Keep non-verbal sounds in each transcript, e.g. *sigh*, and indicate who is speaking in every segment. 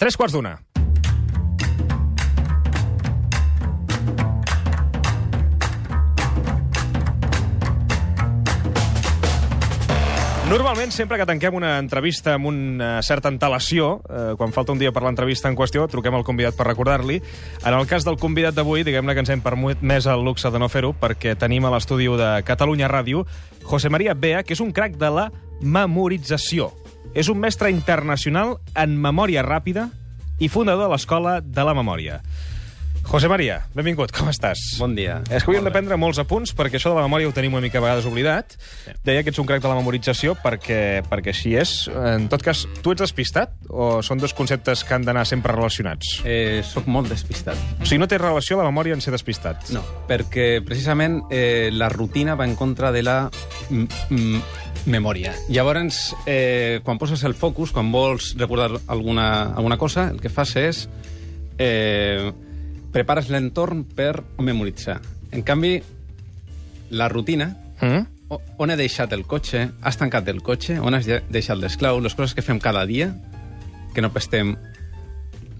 Speaker 1: Tres quarts d'una. Normalment, sempre que tanquem una entrevista amb una certa antelació, eh, quan falta un dia per l'entrevista en qüestió, truquem al convidat per recordar-li. En el cas del convidat d'avui, diguem-ne que ens hem permès el luxe de no fer-ho, perquè tenim a l'estudi de Catalunya Ràdio José María Bea, que és un crac de la memorització. És un mestre internacional en memòria ràpida i fundador de l'Escola de la Memòria. José María, benvingut, com estàs?
Speaker 2: Bon dia.
Speaker 1: És que avui hem
Speaker 2: Molt
Speaker 1: de
Speaker 2: bé.
Speaker 1: prendre molts apunts, perquè això de la memòria ho tenim una mica a vegades oblidat. Deia que ets un crac de la memorització, perquè, perquè així és. En tot cas, tu ets despistat o són dos conceptes que han d'anar sempre relacionats?
Speaker 2: Eh, soc molt despistat.
Speaker 1: O sigui, no té relació la memòria en ser despistat.
Speaker 2: No, perquè precisament eh, la rutina va en contra de la mm, mm, memòria. Llavors, eh, quan poses el focus, quan vols recordar alguna, alguna cosa, el que fas és... Eh, prepares l'entorn per memoritzar. En canvi, la rutina,
Speaker 1: Mm?
Speaker 2: o- on he deixat el cotxe, has tancat el cotxe, on has de- deixat les claus, les coses que fem cada dia, que no pestem,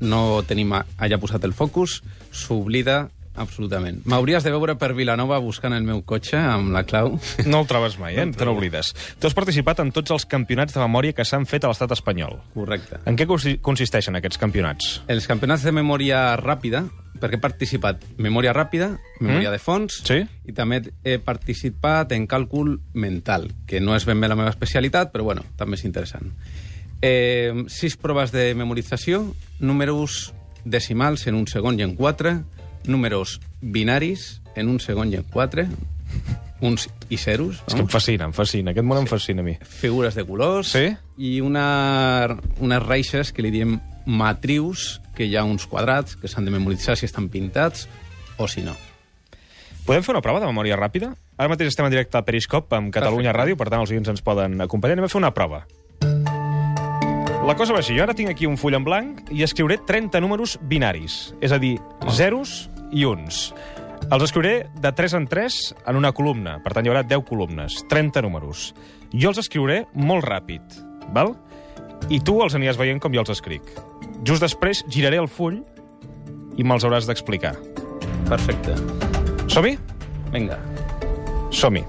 Speaker 2: no tenim a- allà posat el focus, s'oblida absolutament. M'hauries de veure per Vilanova buscant el meu cotxe amb la clau. *laughs*
Speaker 1: No el trobes mai, eh? No Te n'oblides. Tu has participat en tots els campionats de memòria que s'han fet a l'estat espanyol.
Speaker 2: Correcte.
Speaker 1: En què consi- consisteixen aquests campionats?
Speaker 2: Els campionats de memòria ràpida, perquè he participat memòria ràpida, memòria
Speaker 1: Mm.
Speaker 2: de fons,
Speaker 1: Sí.
Speaker 2: i també he participat en càlcul mental, que no és ben bé la meva especialitat, però bueno, també és interessant. Eh, sis proves de memorització, números decimals en un segon i en quatre, números binaris en un segon i en quatre, uns i zeros,
Speaker 1: És que em
Speaker 2: vamos,
Speaker 1: fascina, em fascina. Aquest món em fascina a mi.
Speaker 2: figures de colors
Speaker 1: Sí.
Speaker 2: i una, unes reixes que li diem matrius, que hi ha uns quadrats que s'han de memoritzar si estan pintats o si no.
Speaker 1: Podem fer una prova de memòria ràpida? Ara mateix estem en directe a Periscope amb Catalunya
Speaker 2: Perfecte.
Speaker 1: Ràdio, per tant els oients ens poden acompanyar. Anem a fer una prova. La cosa va així, jo ara tinc aquí un full en blanc i escriuré 30 números binaris, és a dir, zeros i uns. Els escriuré de 3 en 3 en una columna, per tant hi haurà 10 columnes, 30 números. Jo els escriuré molt ràpid, val? I tu els aniràs veient com jo els escric. Just després giraré el full i me'ls hauràs d'explicar.
Speaker 2: Perfecte.
Speaker 1: Som-hi?
Speaker 2: Vinga.
Speaker 1: Som-hi.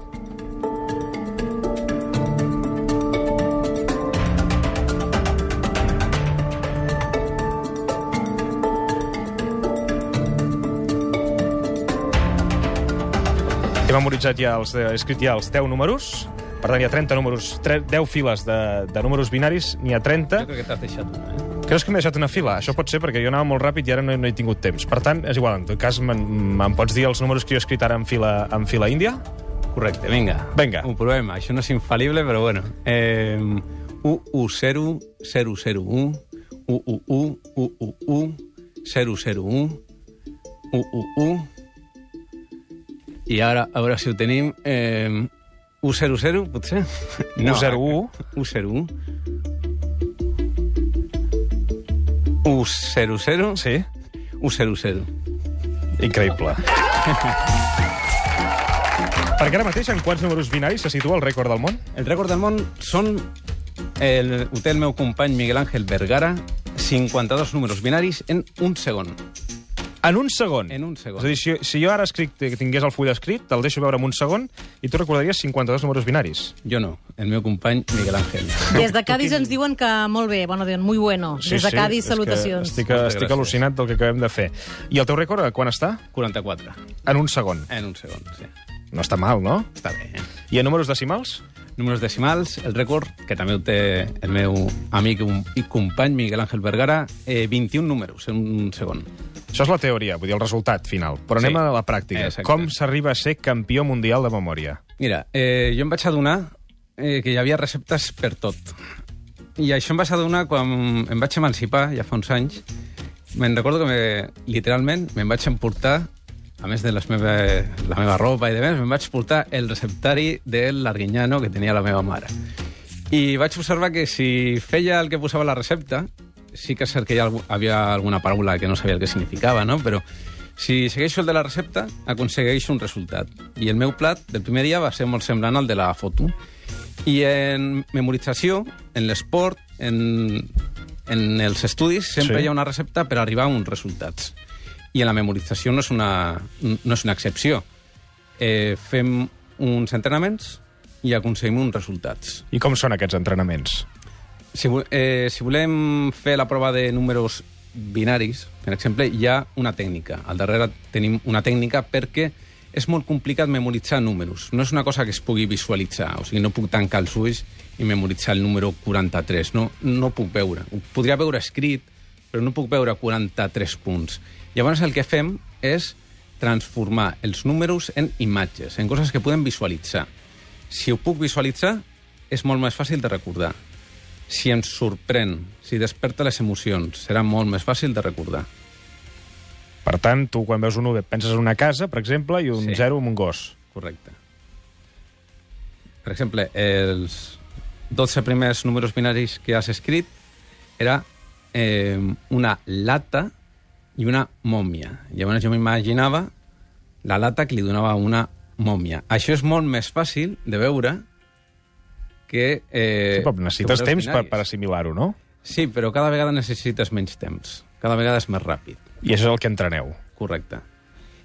Speaker 1: He memoritzat ja els, eh, he escrit ja els 10 números. Per tant, hi ha 30 números, 3, 10 files de, de números binaris, n'hi ha 30.
Speaker 2: Jo crec que t'has deixat una, eh?
Speaker 1: Creus que m'he deixat una fila? Això pot ser perquè jo anava molt ràpid i ara no, no he tingut temps. Per tant, és igual, en tot cas, me'n me'n pots dir els números que jo he escrit ara en fila, en fila índia?
Speaker 2: Correcte, vinga.
Speaker 1: Vinga.
Speaker 2: Ho provem. Això no és infal·lible, però bueno. Eh, 1, 1, 0, 0, 0, 1, 1, 1, 1, 1, 1, 1, 0, 0, 1, 1, 1, 1, i ara, a veure si ho tenim... Eh, 100, potser?
Speaker 1: 101.
Speaker 2: 101. 100.
Speaker 1: Sí.
Speaker 2: 100.
Speaker 1: Increïble. *laughs* Perquè ara mateix, en quants números binaris se situa el rècord del món?
Speaker 2: El rècord del món són... El, ho té el meu company Miguel Ángel Vergara, 52 números binaris en un segon.
Speaker 1: En un segon.
Speaker 2: En un segon.
Speaker 1: És a dir, si, si jo ara escric, que tingués el full escrit, te'l deixo veure en un segon i tu recordaries 52 números binaris.
Speaker 2: Jo no, el meu company Miguel Ángel.
Speaker 3: Des de Cádiz ens diuen que molt bé, bueno, diuen muy bueno. Des de
Speaker 1: és
Speaker 3: Cádiz,
Speaker 1: que
Speaker 3: salutacions.
Speaker 1: Estic,
Speaker 2: Moltes
Speaker 1: estic
Speaker 2: gràcies.
Speaker 1: al·lucinat del que acabem de fer. I el teu rècord, a quan està?
Speaker 2: 44
Speaker 1: En un segon.
Speaker 2: en un segon, sí.
Speaker 1: No està mal, no?
Speaker 2: Està bé, eh?
Speaker 1: I en números decimals?
Speaker 2: Números decimals, el rècord, que també ho té el meu amic i company Miguel Ángel Vergara, eh, 21 números en un segon.
Speaker 1: Això és la teoria, vull dir, el resultat final. Però
Speaker 2: Sí.
Speaker 1: anem a la pràctica.
Speaker 2: Exacte.
Speaker 1: Com s'arriba a ser campió mundial de memòria?
Speaker 2: Mira, eh, jo em vaig adonar eh, que hi havia receptes per tot. I això em vaig adonar quan em vaig emancipar, ja fa uns anys. Me'n recordo que, me, literalment, me'n vaig emportar, a més de les meve, la meva roba i de més, me'n vaig portar el receptari del l'arguinyano que tenia la meva mare. I vaig observar que si feia el que posava la recepta, sí que és cert que hi ha algú- havia alguna paraula que no sabia el que significava, no? però si segueixo el de la recepta, aconsegueixo un resultat. I el meu plat del primer dia va ser molt semblant al de la foto. I en memorització, en l'esport, en En els estudis sempre
Speaker 1: Sí.
Speaker 2: sí. hi ha una recepta per arribar a uns resultats. I en la memorització no és una, no és una excepció. Eh, fem uns entrenaments i aconseguim uns resultats.
Speaker 1: I com són aquests entrenaments?
Speaker 2: Si, vo- eh, si volem fer la prova de números binaris, per exemple, hi ha una tècnica. Al darrere tenim una tècnica perquè és molt complicat memoritzar números. No és una cosa que es pugui visualitzar. O sigui, no puc tancar els ulls i memoritzar el número 43. No, no puc veure. Ho podria veure escrit, però no puc veure 43 punts. Llavors el que fem és transformar els números en imatges, en coses que podem visualitzar. Si ho puc visualitzar, és molt més fàcil de recordar si ens sorprèn, si desperta les emocions, serà molt més fàcil de recordar.
Speaker 1: Per tant, tu quan veus un 1 penses en una casa, per exemple, i un
Speaker 2: Sí.
Speaker 1: 0 en un gos.
Speaker 2: Correcte. Per exemple, els 12 primers números binaris que has escrit era eh, una lata i una mòmia. Llavors jo m'imaginava la lata que li donava una mòmia. Això és molt més fàcil de veure que... Eh,
Speaker 1: Sí, però necessites
Speaker 2: que
Speaker 1: temps
Speaker 2: números
Speaker 1: per, per
Speaker 2: binaris.
Speaker 1: assimilar-ho, no?
Speaker 2: Sí, però cada vegada necessites menys temps. Cada vegada és més ràpid.
Speaker 1: I això és el que entreneu.
Speaker 2: Correcte.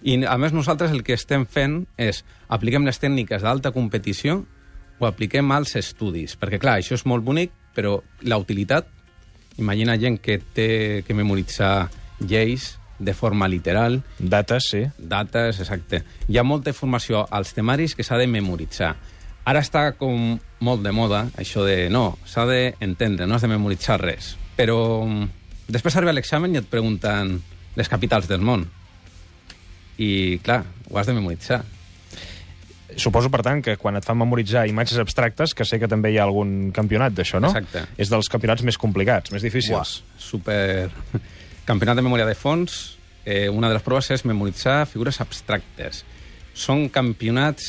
Speaker 2: I, a més, nosaltres el que estem fent és apliquem les tècniques d'alta competició o apliquem als estudis. Perquè, clar, això és molt bonic, però la utilitat... Imagina gent que té que memoritzar lleis de forma literal,
Speaker 1: Dates, sí.
Speaker 2: dates, exacte. Hi ha molta informació als temaris que s'ha de memoritzar. Ara està com molt de moda això de no, s'ha d'entendre, no has de memoritzar res. Però mm, després arriba l'examen i et pregunten les capitals del món. I, clar, ho has de memoritzar.
Speaker 1: Suposo, per tant, que quan et fan memoritzar imatges abstractes, que sé que també hi ha algun campionat d'això, no?
Speaker 2: Exacte.
Speaker 1: És dels campionats més complicats, més difícils.
Speaker 2: Buah, super... Campionat de memòria de fons, eh, una de les proves és memoritzar figures abstractes. Són campionats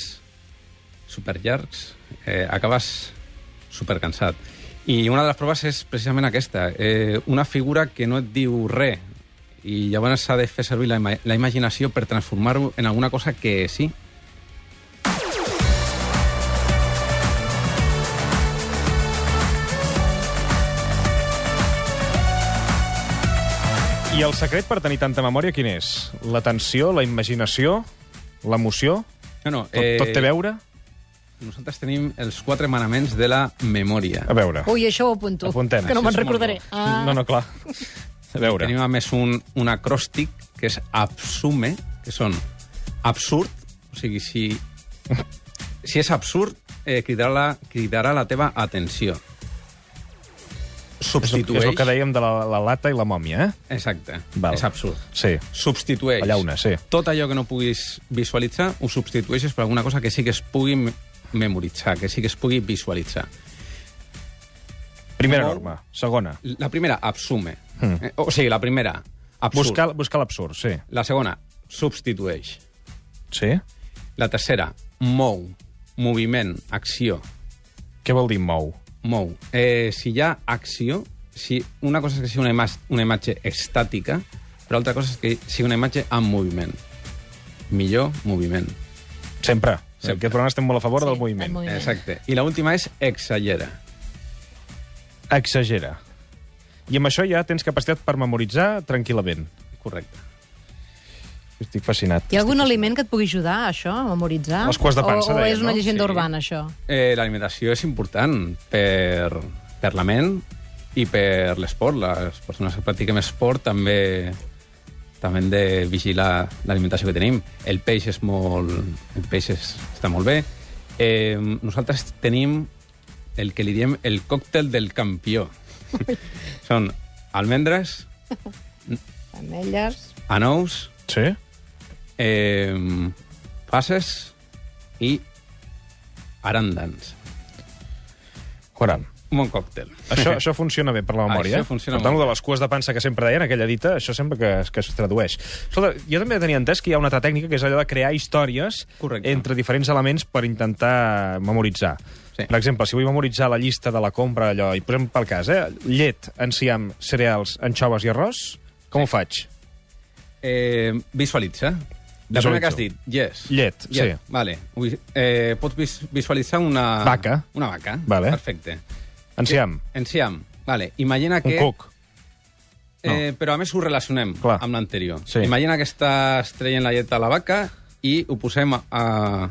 Speaker 2: superllargs, eh, acabes supercansat. I una de les proves és precisament aquesta, eh, una figura que no et diu res, i llavors s'ha de fer servir la, ima la imaginació per transformar-ho en alguna cosa que sí,
Speaker 1: I el secret per tenir tanta memòria quin és? L'atenció, la imaginació, l'emoció?
Speaker 2: No, no,
Speaker 1: Tot, tot té a veure?
Speaker 2: Nosaltres tenim els quatre manaments de la memòria.
Speaker 1: A veure,
Speaker 3: Ui, això ho apunto,
Speaker 1: apuntem.
Speaker 3: que no
Speaker 1: Sí, és
Speaker 3: me'n
Speaker 1: molt
Speaker 3: recordaré. Ah,
Speaker 1: bo. No, no, clar. A veure.
Speaker 2: Tenim a més un, un acròstic que és absume, que són absurd, o sigui,
Speaker 1: *laughs*
Speaker 2: si, si és absurd, eh, cridarà, la, cridarà la teva atenció.
Speaker 1: És el, és
Speaker 2: Substitueix...
Speaker 1: el que dèiem de la, la lata i la mòmia, eh?
Speaker 2: Exacte,
Speaker 1: Val.
Speaker 2: és absurd.
Speaker 1: Sí,
Speaker 2: Substitueix
Speaker 1: la llauna, sí.
Speaker 2: tot allò que no puguis visualitzar ho substitueixes per alguna cosa que sí que es pugui me- memoritzar, que sí que es pugui visualitzar.
Speaker 1: Primera
Speaker 2: Molt.
Speaker 1: norma. Segona.
Speaker 2: La primera, absume.
Speaker 1: Hmm.
Speaker 2: Eh, O sigui, la primera, absurd.
Speaker 1: Buscar, buscar l'absurd, sí.
Speaker 2: La segona, substitueix.
Speaker 1: Sí?
Speaker 2: La tercera, mou, moviment, acció,
Speaker 1: Què vol dir mou?
Speaker 2: mou. Eh, si hi ha acció, si una cosa és que sigui una, ima una imatge estàtica, però altra cosa és que sigui una imatge amb moviment. Millor moviment.
Speaker 1: Sempre.
Speaker 2: Sempre.
Speaker 1: Sempre. Aquest programa estem molt a favor sí, del moviment.
Speaker 3: moviment.
Speaker 2: Exacte. I l'última és exagera.
Speaker 1: Exagera. I amb això ja tens capacitat per memoritzar tranquil·lament.
Speaker 2: Correcte.
Speaker 1: Estic fascinat.
Speaker 3: Hi ha algun aliment que et pugui ajudar, això, a memoritzar?
Speaker 1: Les cues de pansa,
Speaker 3: o, o
Speaker 1: deien,
Speaker 3: és una
Speaker 1: no?
Speaker 3: llegenda
Speaker 2: Sí.
Speaker 3: urbana, això?
Speaker 2: Eh, L'alimentació és important per, per la ment i per l'esport. Les persones que practiquem esport també també hem de vigilar l'alimentació que tenim. El peix és molt... El peix és, està molt bé. Eh, nosaltres tenim el que li diem el còctel del campió. *laughs* Són almendres,
Speaker 3: Ametlles...
Speaker 2: anous,
Speaker 1: Sí?
Speaker 2: eh, passes i aràndans.
Speaker 1: Caram.
Speaker 2: Un bon còctel.
Speaker 1: Això, això funciona bé per la memòria.
Speaker 2: Això funciona
Speaker 1: per tant, lo
Speaker 2: molt
Speaker 1: de les cues de pansa que sempre deien, aquella dita, això sempre que, que es tradueix. Escolta, jo també tenia entès que hi ha una altra tècnica, que és allò de crear històries
Speaker 2: Correcte.
Speaker 1: entre diferents elements per intentar memoritzar.
Speaker 2: Sí.
Speaker 1: Per exemple, si vull memoritzar la llista de la compra, allò, i posem pel cas, eh? Llet, enciam, cereals, anxoves i arròs, com ho faig?
Speaker 2: Eh, visualitza. La
Speaker 1: Visualitzo.
Speaker 2: primera que has dit, yes.
Speaker 1: Llet, sí.
Speaker 2: Vale. Ui, Eh, pots vis visualitzar una...
Speaker 1: Vaca.
Speaker 2: Una vaca.
Speaker 1: Vale.
Speaker 2: Perfecte. Eh,
Speaker 1: Enciam,
Speaker 2: Enciam. Vale. Imagina
Speaker 1: un
Speaker 2: que...
Speaker 1: cuc, No.
Speaker 2: Eh, però a més ho relacionem
Speaker 1: Clar.
Speaker 2: amb l'anterior.
Speaker 1: Sí.
Speaker 2: Imagina que estàs traient la llet a la vaca i ho posem a, a,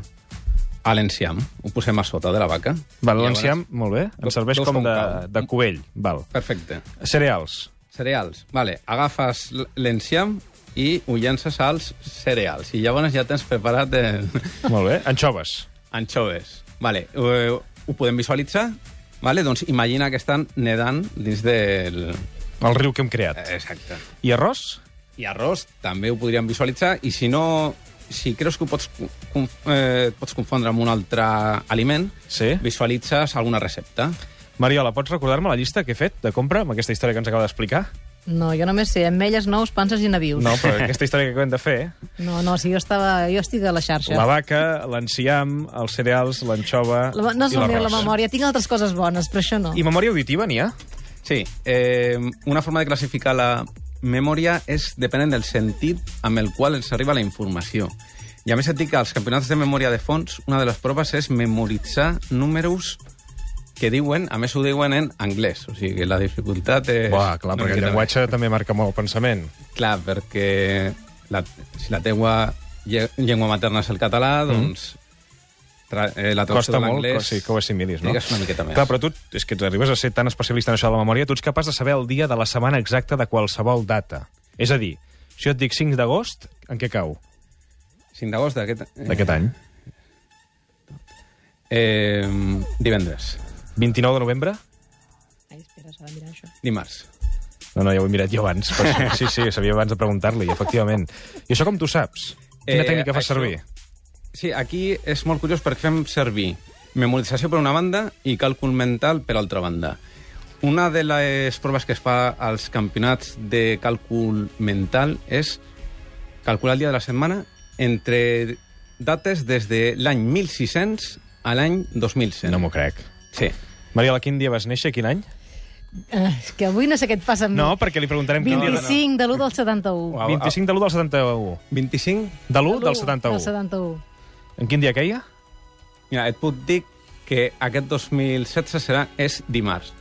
Speaker 2: a l'enciam, ho posem a sota de la vaca.
Speaker 1: Val,
Speaker 2: Llavors-
Speaker 1: l'enciam, molt bé,
Speaker 2: Dos-
Speaker 1: ens serveix
Speaker 2: dos
Speaker 1: com
Speaker 2: com
Speaker 1: de,
Speaker 2: cal.
Speaker 1: de cubell. Val.
Speaker 2: Perfecte.
Speaker 1: Cereals.
Speaker 2: Cereals. Vale, agafes l- l'enciam i ho llences als cereals. I llavors ja tens preparat el...
Speaker 1: Molt bé. Anchoves.
Speaker 2: anchoves. Vale, ho, ho podem visualitzar? Vale, doncs imagina que estan nedant dins del...
Speaker 1: El riu que hem
Speaker 2: Eh.
Speaker 1: creat.
Speaker 2: Exacte.
Speaker 1: I arròs?
Speaker 2: I arròs també ho podríem visualitzar i si no, si creus que ho pots, co- conf, eh, pots confondre amb un altre aliment,
Speaker 1: Sí.
Speaker 2: visualitzes alguna recepta.
Speaker 1: Mariola, pots recordar-me la llista que he fet de compra amb aquesta història que ens acaba d'explicar?
Speaker 3: No, jo només sé ametlles, nous, panses i navius.
Speaker 1: No,
Speaker 3: *laughs*
Speaker 1: però aquesta història que acabem de fer...
Speaker 3: no, no si jo, estava, jo estic a la xarxa.
Speaker 1: La vaca, l'enciam, els cereals, l'anxova
Speaker 3: La, no
Speaker 1: i
Speaker 3: és la meva
Speaker 1: l'arròs.
Speaker 3: la memòria, tinc altres coses bones, però això no.
Speaker 1: I memòria auditiva n'hi ha?
Speaker 2: Sí, eh, una forma de classificar la memòria és depenent del sentit amb el qual ens arriba la informació. I a més et dic que als campionats de memòria de fons una de les proves és memoritzar números que diuen, a més ho diuen en anglès, o sigui que la dificultat és...
Speaker 1: Buah, clar,
Speaker 2: una
Speaker 1: perquè el
Speaker 2: miqueta
Speaker 1: llenguatge també marca molt el pensament.
Speaker 2: més. Clar, perquè la, si la teua lle- llengua materna és el català, doncs tra, eh, la traducció
Speaker 1: Mm. Costa
Speaker 2: de
Speaker 1: molt
Speaker 2: l'anglès...
Speaker 1: que, sí, que ho assimilis, no?
Speaker 2: Digues una miqueta més.
Speaker 1: Clar, però tu és que arribes a ser tan especialista en això de la memòria, tu ets capaç de saber el dia de la setmana exacta de qualsevol data. És a dir, si jo et dic 5 d'agost, en què cau?
Speaker 2: 5 d'agost d'aquest...
Speaker 1: D'aquest any.
Speaker 2: Eh, divendres.
Speaker 1: 29 de novembre?
Speaker 3: Ai, espera, s'ha de mirar això.
Speaker 2: Dimarts.
Speaker 1: No, no, ja ho he mirat jo abans. Però sí, sí, sí, sabia abans de preguntar-li, efectivament. I això com tu saps? Quina
Speaker 2: Eh,
Speaker 1: tècnica fas
Speaker 2: això-
Speaker 1: servir?
Speaker 2: Sí, aquí és molt curiós perquè fem servir memorització per una banda i càlcul mental per altra banda. Una de les proves que es fa als campionats de càlcul mental és calcular el dia de la setmana entre dates des de l'any 1600 a l'any 2100.
Speaker 1: No m'ho crec.
Speaker 2: Sí.
Speaker 1: Mariola, quin dia vas néixer? Quin any?
Speaker 3: Eh, és que avui no sé què et passa amb
Speaker 1: No,
Speaker 3: mi.
Speaker 1: perquè li preguntarem quin dia...
Speaker 3: 25 de l'1 del 71.
Speaker 2: Uau.
Speaker 1: 25 de l'1 del 71.
Speaker 2: 25?
Speaker 1: De l'1 del
Speaker 3: Del
Speaker 1: 71.
Speaker 3: 71.
Speaker 1: En quin dia queia?
Speaker 2: Mira, et puc dir que aquest 2016 serà, és dimarts.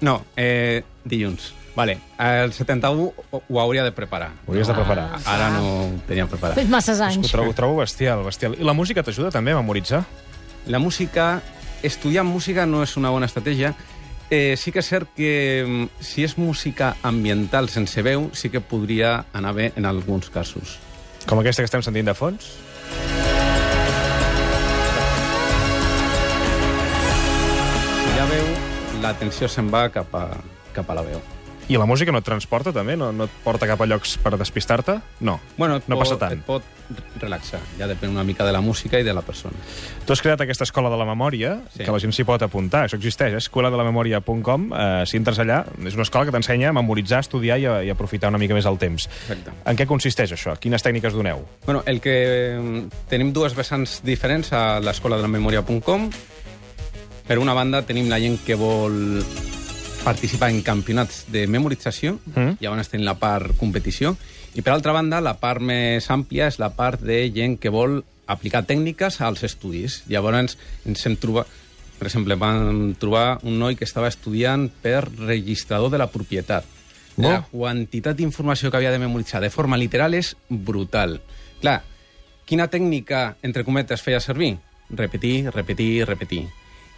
Speaker 2: No, eh, dilluns. Vale, el 71 ho, ho hauria de preparar.
Speaker 1: Ho hauries de preparar.
Speaker 2: Ah, Ara no ho tenia preparat.
Speaker 3: Fes masses
Speaker 1: Ho
Speaker 3: anys.
Speaker 1: trobo, ho trobo bestial, bestial. I la música t'ajuda també a memoritzar?
Speaker 2: La música, estudiar música no és una bona estratègia. Eh, sí que és cert que mm, si és música ambiental sense veu, sí que podria anar bé en alguns casos.
Speaker 1: Com aquesta que estem sentint de fons?
Speaker 2: Si hi ha veu, l'atenció se'n va cap a, cap a la veu.
Speaker 1: I la música no et transporta, també? No, no et porta cap a llocs per despistar-te? No,
Speaker 2: Bueno, et
Speaker 1: no
Speaker 2: pot,
Speaker 1: passa tant.
Speaker 2: Et pot relaxar. Ja depèn una mica de la música i de la persona.
Speaker 1: Tu has creat aquesta escola de la memòria, sí.
Speaker 2: Sí.
Speaker 1: que la gent s'hi pot apuntar, això existeix, eh? escoladelamemòria.com, eh, si entres allà, és una escola que t'ensenya a memoritzar, estudiar i, a, i aprofitar una mica més el temps.
Speaker 2: Exacte.
Speaker 1: En què consisteix això? Quines tècniques doneu?
Speaker 2: Bueno, el que eh, tenim dues vessants diferents a l'escola de la memòria.com. Per una banda, tenim la gent que vol participar en campionats de memorització,
Speaker 1: Mm.
Speaker 2: mm. llavors tenim la part competició, i per altra banda, la part més àmplia és la part de gent que vol aplicar tècniques als estudis. Llavors ens hem trobat, per exemple, vam trobar un noi que estava estudiant per registrador de la propietat.
Speaker 1: Bo.
Speaker 2: La quantitat d'informació que havia de memoritzar de forma literal és brutal. Clar, quina tècnica, entre cometes, feia servir? Repetir, repetir, repetir.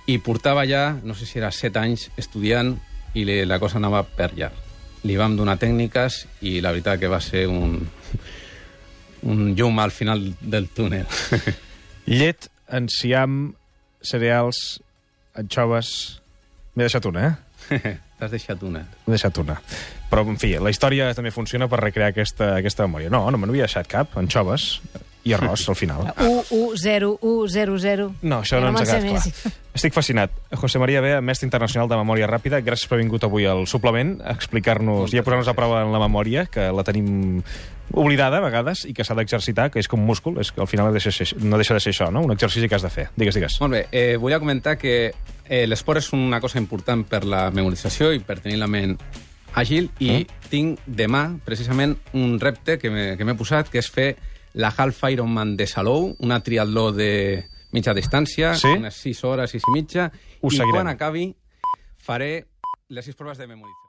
Speaker 2: I portava ja, no sé si era 7 anys, estudiant, i li, la cosa anava per llarg. Li vam donar tècniques i la veritat que va ser un, un llum al final del túnel. *laughs*
Speaker 1: Llet, enciam, cereals, anxoves... M'he deixat una, eh?
Speaker 2: T'has deixat una.
Speaker 1: M'he deixat una. Però, en fi, la història també funciona per recrear aquesta, aquesta memòria. No, no me n'havia deixat cap. Anxoves i *laughs* arròs, al final.
Speaker 3: 1 1 0 1 0 0
Speaker 1: No, això
Speaker 3: Ja
Speaker 1: no,
Speaker 3: no
Speaker 1: ens ha
Speaker 3: me'n sé
Speaker 1: quedat
Speaker 3: més.
Speaker 1: clar. Estic fascinat. José María Bea, mestre internacional de memòria ràpida, gràcies per haver vingut avui al suplement a explicar-nos
Speaker 2: Moltes
Speaker 1: i a posar-nos a
Speaker 2: gràcies.
Speaker 1: prova en la memòria, que la tenim oblidada a vegades i que s'ha d'exercitar, que és com un múscul, és que al final deixa de ser, no deixa de ser això, no? Un exercici que has de fer. Digues, digues.
Speaker 2: Molt bé, eh, volia comentar que eh, l'esport és una cosa important per la memorització i per tenir la ment àgil i mm. tinc demà precisament un repte que m'he que m'he posat que és fer la Half Ironman de Salou, una triatló de mitja distància,
Speaker 1: Sí?
Speaker 2: unes 6 hores, 6 i mitja,
Speaker 1: Ho
Speaker 2: i
Speaker 1: seguirem.
Speaker 2: quan acabi faré les 6 proves de memorització.